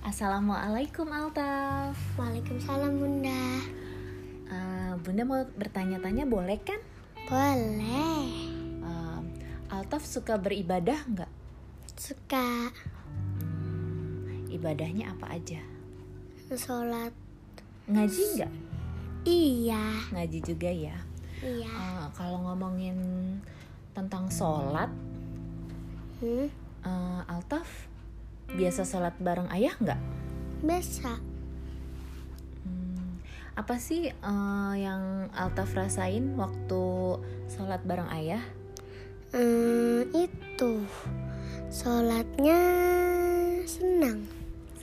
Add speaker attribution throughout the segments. Speaker 1: Assalamualaikum Altaf.
Speaker 2: Waalaikumsalam Bunda.
Speaker 1: Eh, bunda mau bertanya-tanya boleh kan?
Speaker 2: Boleh.
Speaker 1: Eh, Altaf suka beribadah nggak?
Speaker 2: Suka
Speaker 1: Ibadahnya apa aja?
Speaker 2: sholat.
Speaker 1: Ngaji nggak?
Speaker 2: Iya.
Speaker 1: Ngaji juga ya.
Speaker 2: Iya.
Speaker 1: Eh, kalau ngomongin tentang sholat,
Speaker 2: Hmm?
Speaker 1: eh, Altaf biasa sholat bareng ayah nggak?
Speaker 2: Bisa.
Speaker 1: Hmm, apa sih eh, yang Altaf rasain waktu sholat bareng ayah?
Speaker 2: Hmm, itu sholatnya senang.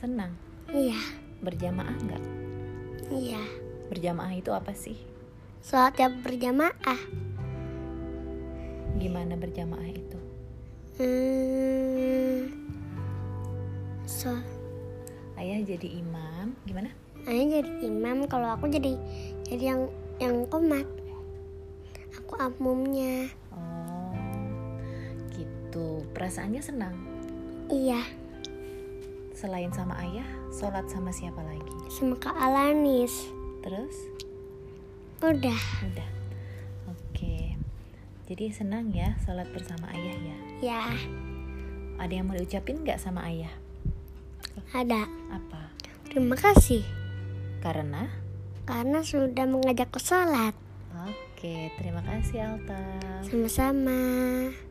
Speaker 1: Senang.
Speaker 2: Iya.
Speaker 1: Berjamaah nggak?
Speaker 2: Iya.
Speaker 1: Berjamaah itu apa sih?
Speaker 2: Sholat yang berjamaah.
Speaker 1: Gimana berjamaah itu?
Speaker 2: Hmm. So,
Speaker 1: Ayah jadi imam, gimana?
Speaker 2: Ayah jadi imam kalau aku jadi jadi yang yang komat. Aku amumnya.
Speaker 1: Oh, gitu. Perasaannya senang.
Speaker 2: Iya.
Speaker 1: Selain sama ayah, sholat sama siapa lagi?
Speaker 2: Sama Kak Alanis.
Speaker 1: Terus,
Speaker 2: Udah.
Speaker 1: udah. Oke. Jadi senang ya sholat bersama ayah ya.
Speaker 2: Ya,
Speaker 1: Ada yang mau diucapin nggak sama ayah?
Speaker 2: ada.
Speaker 1: Apa?
Speaker 2: Terima kasih
Speaker 1: Karena?
Speaker 2: karena sudah mengajakku sholat.
Speaker 1: Oke, terima kasih Alta.
Speaker 2: Sama-sama.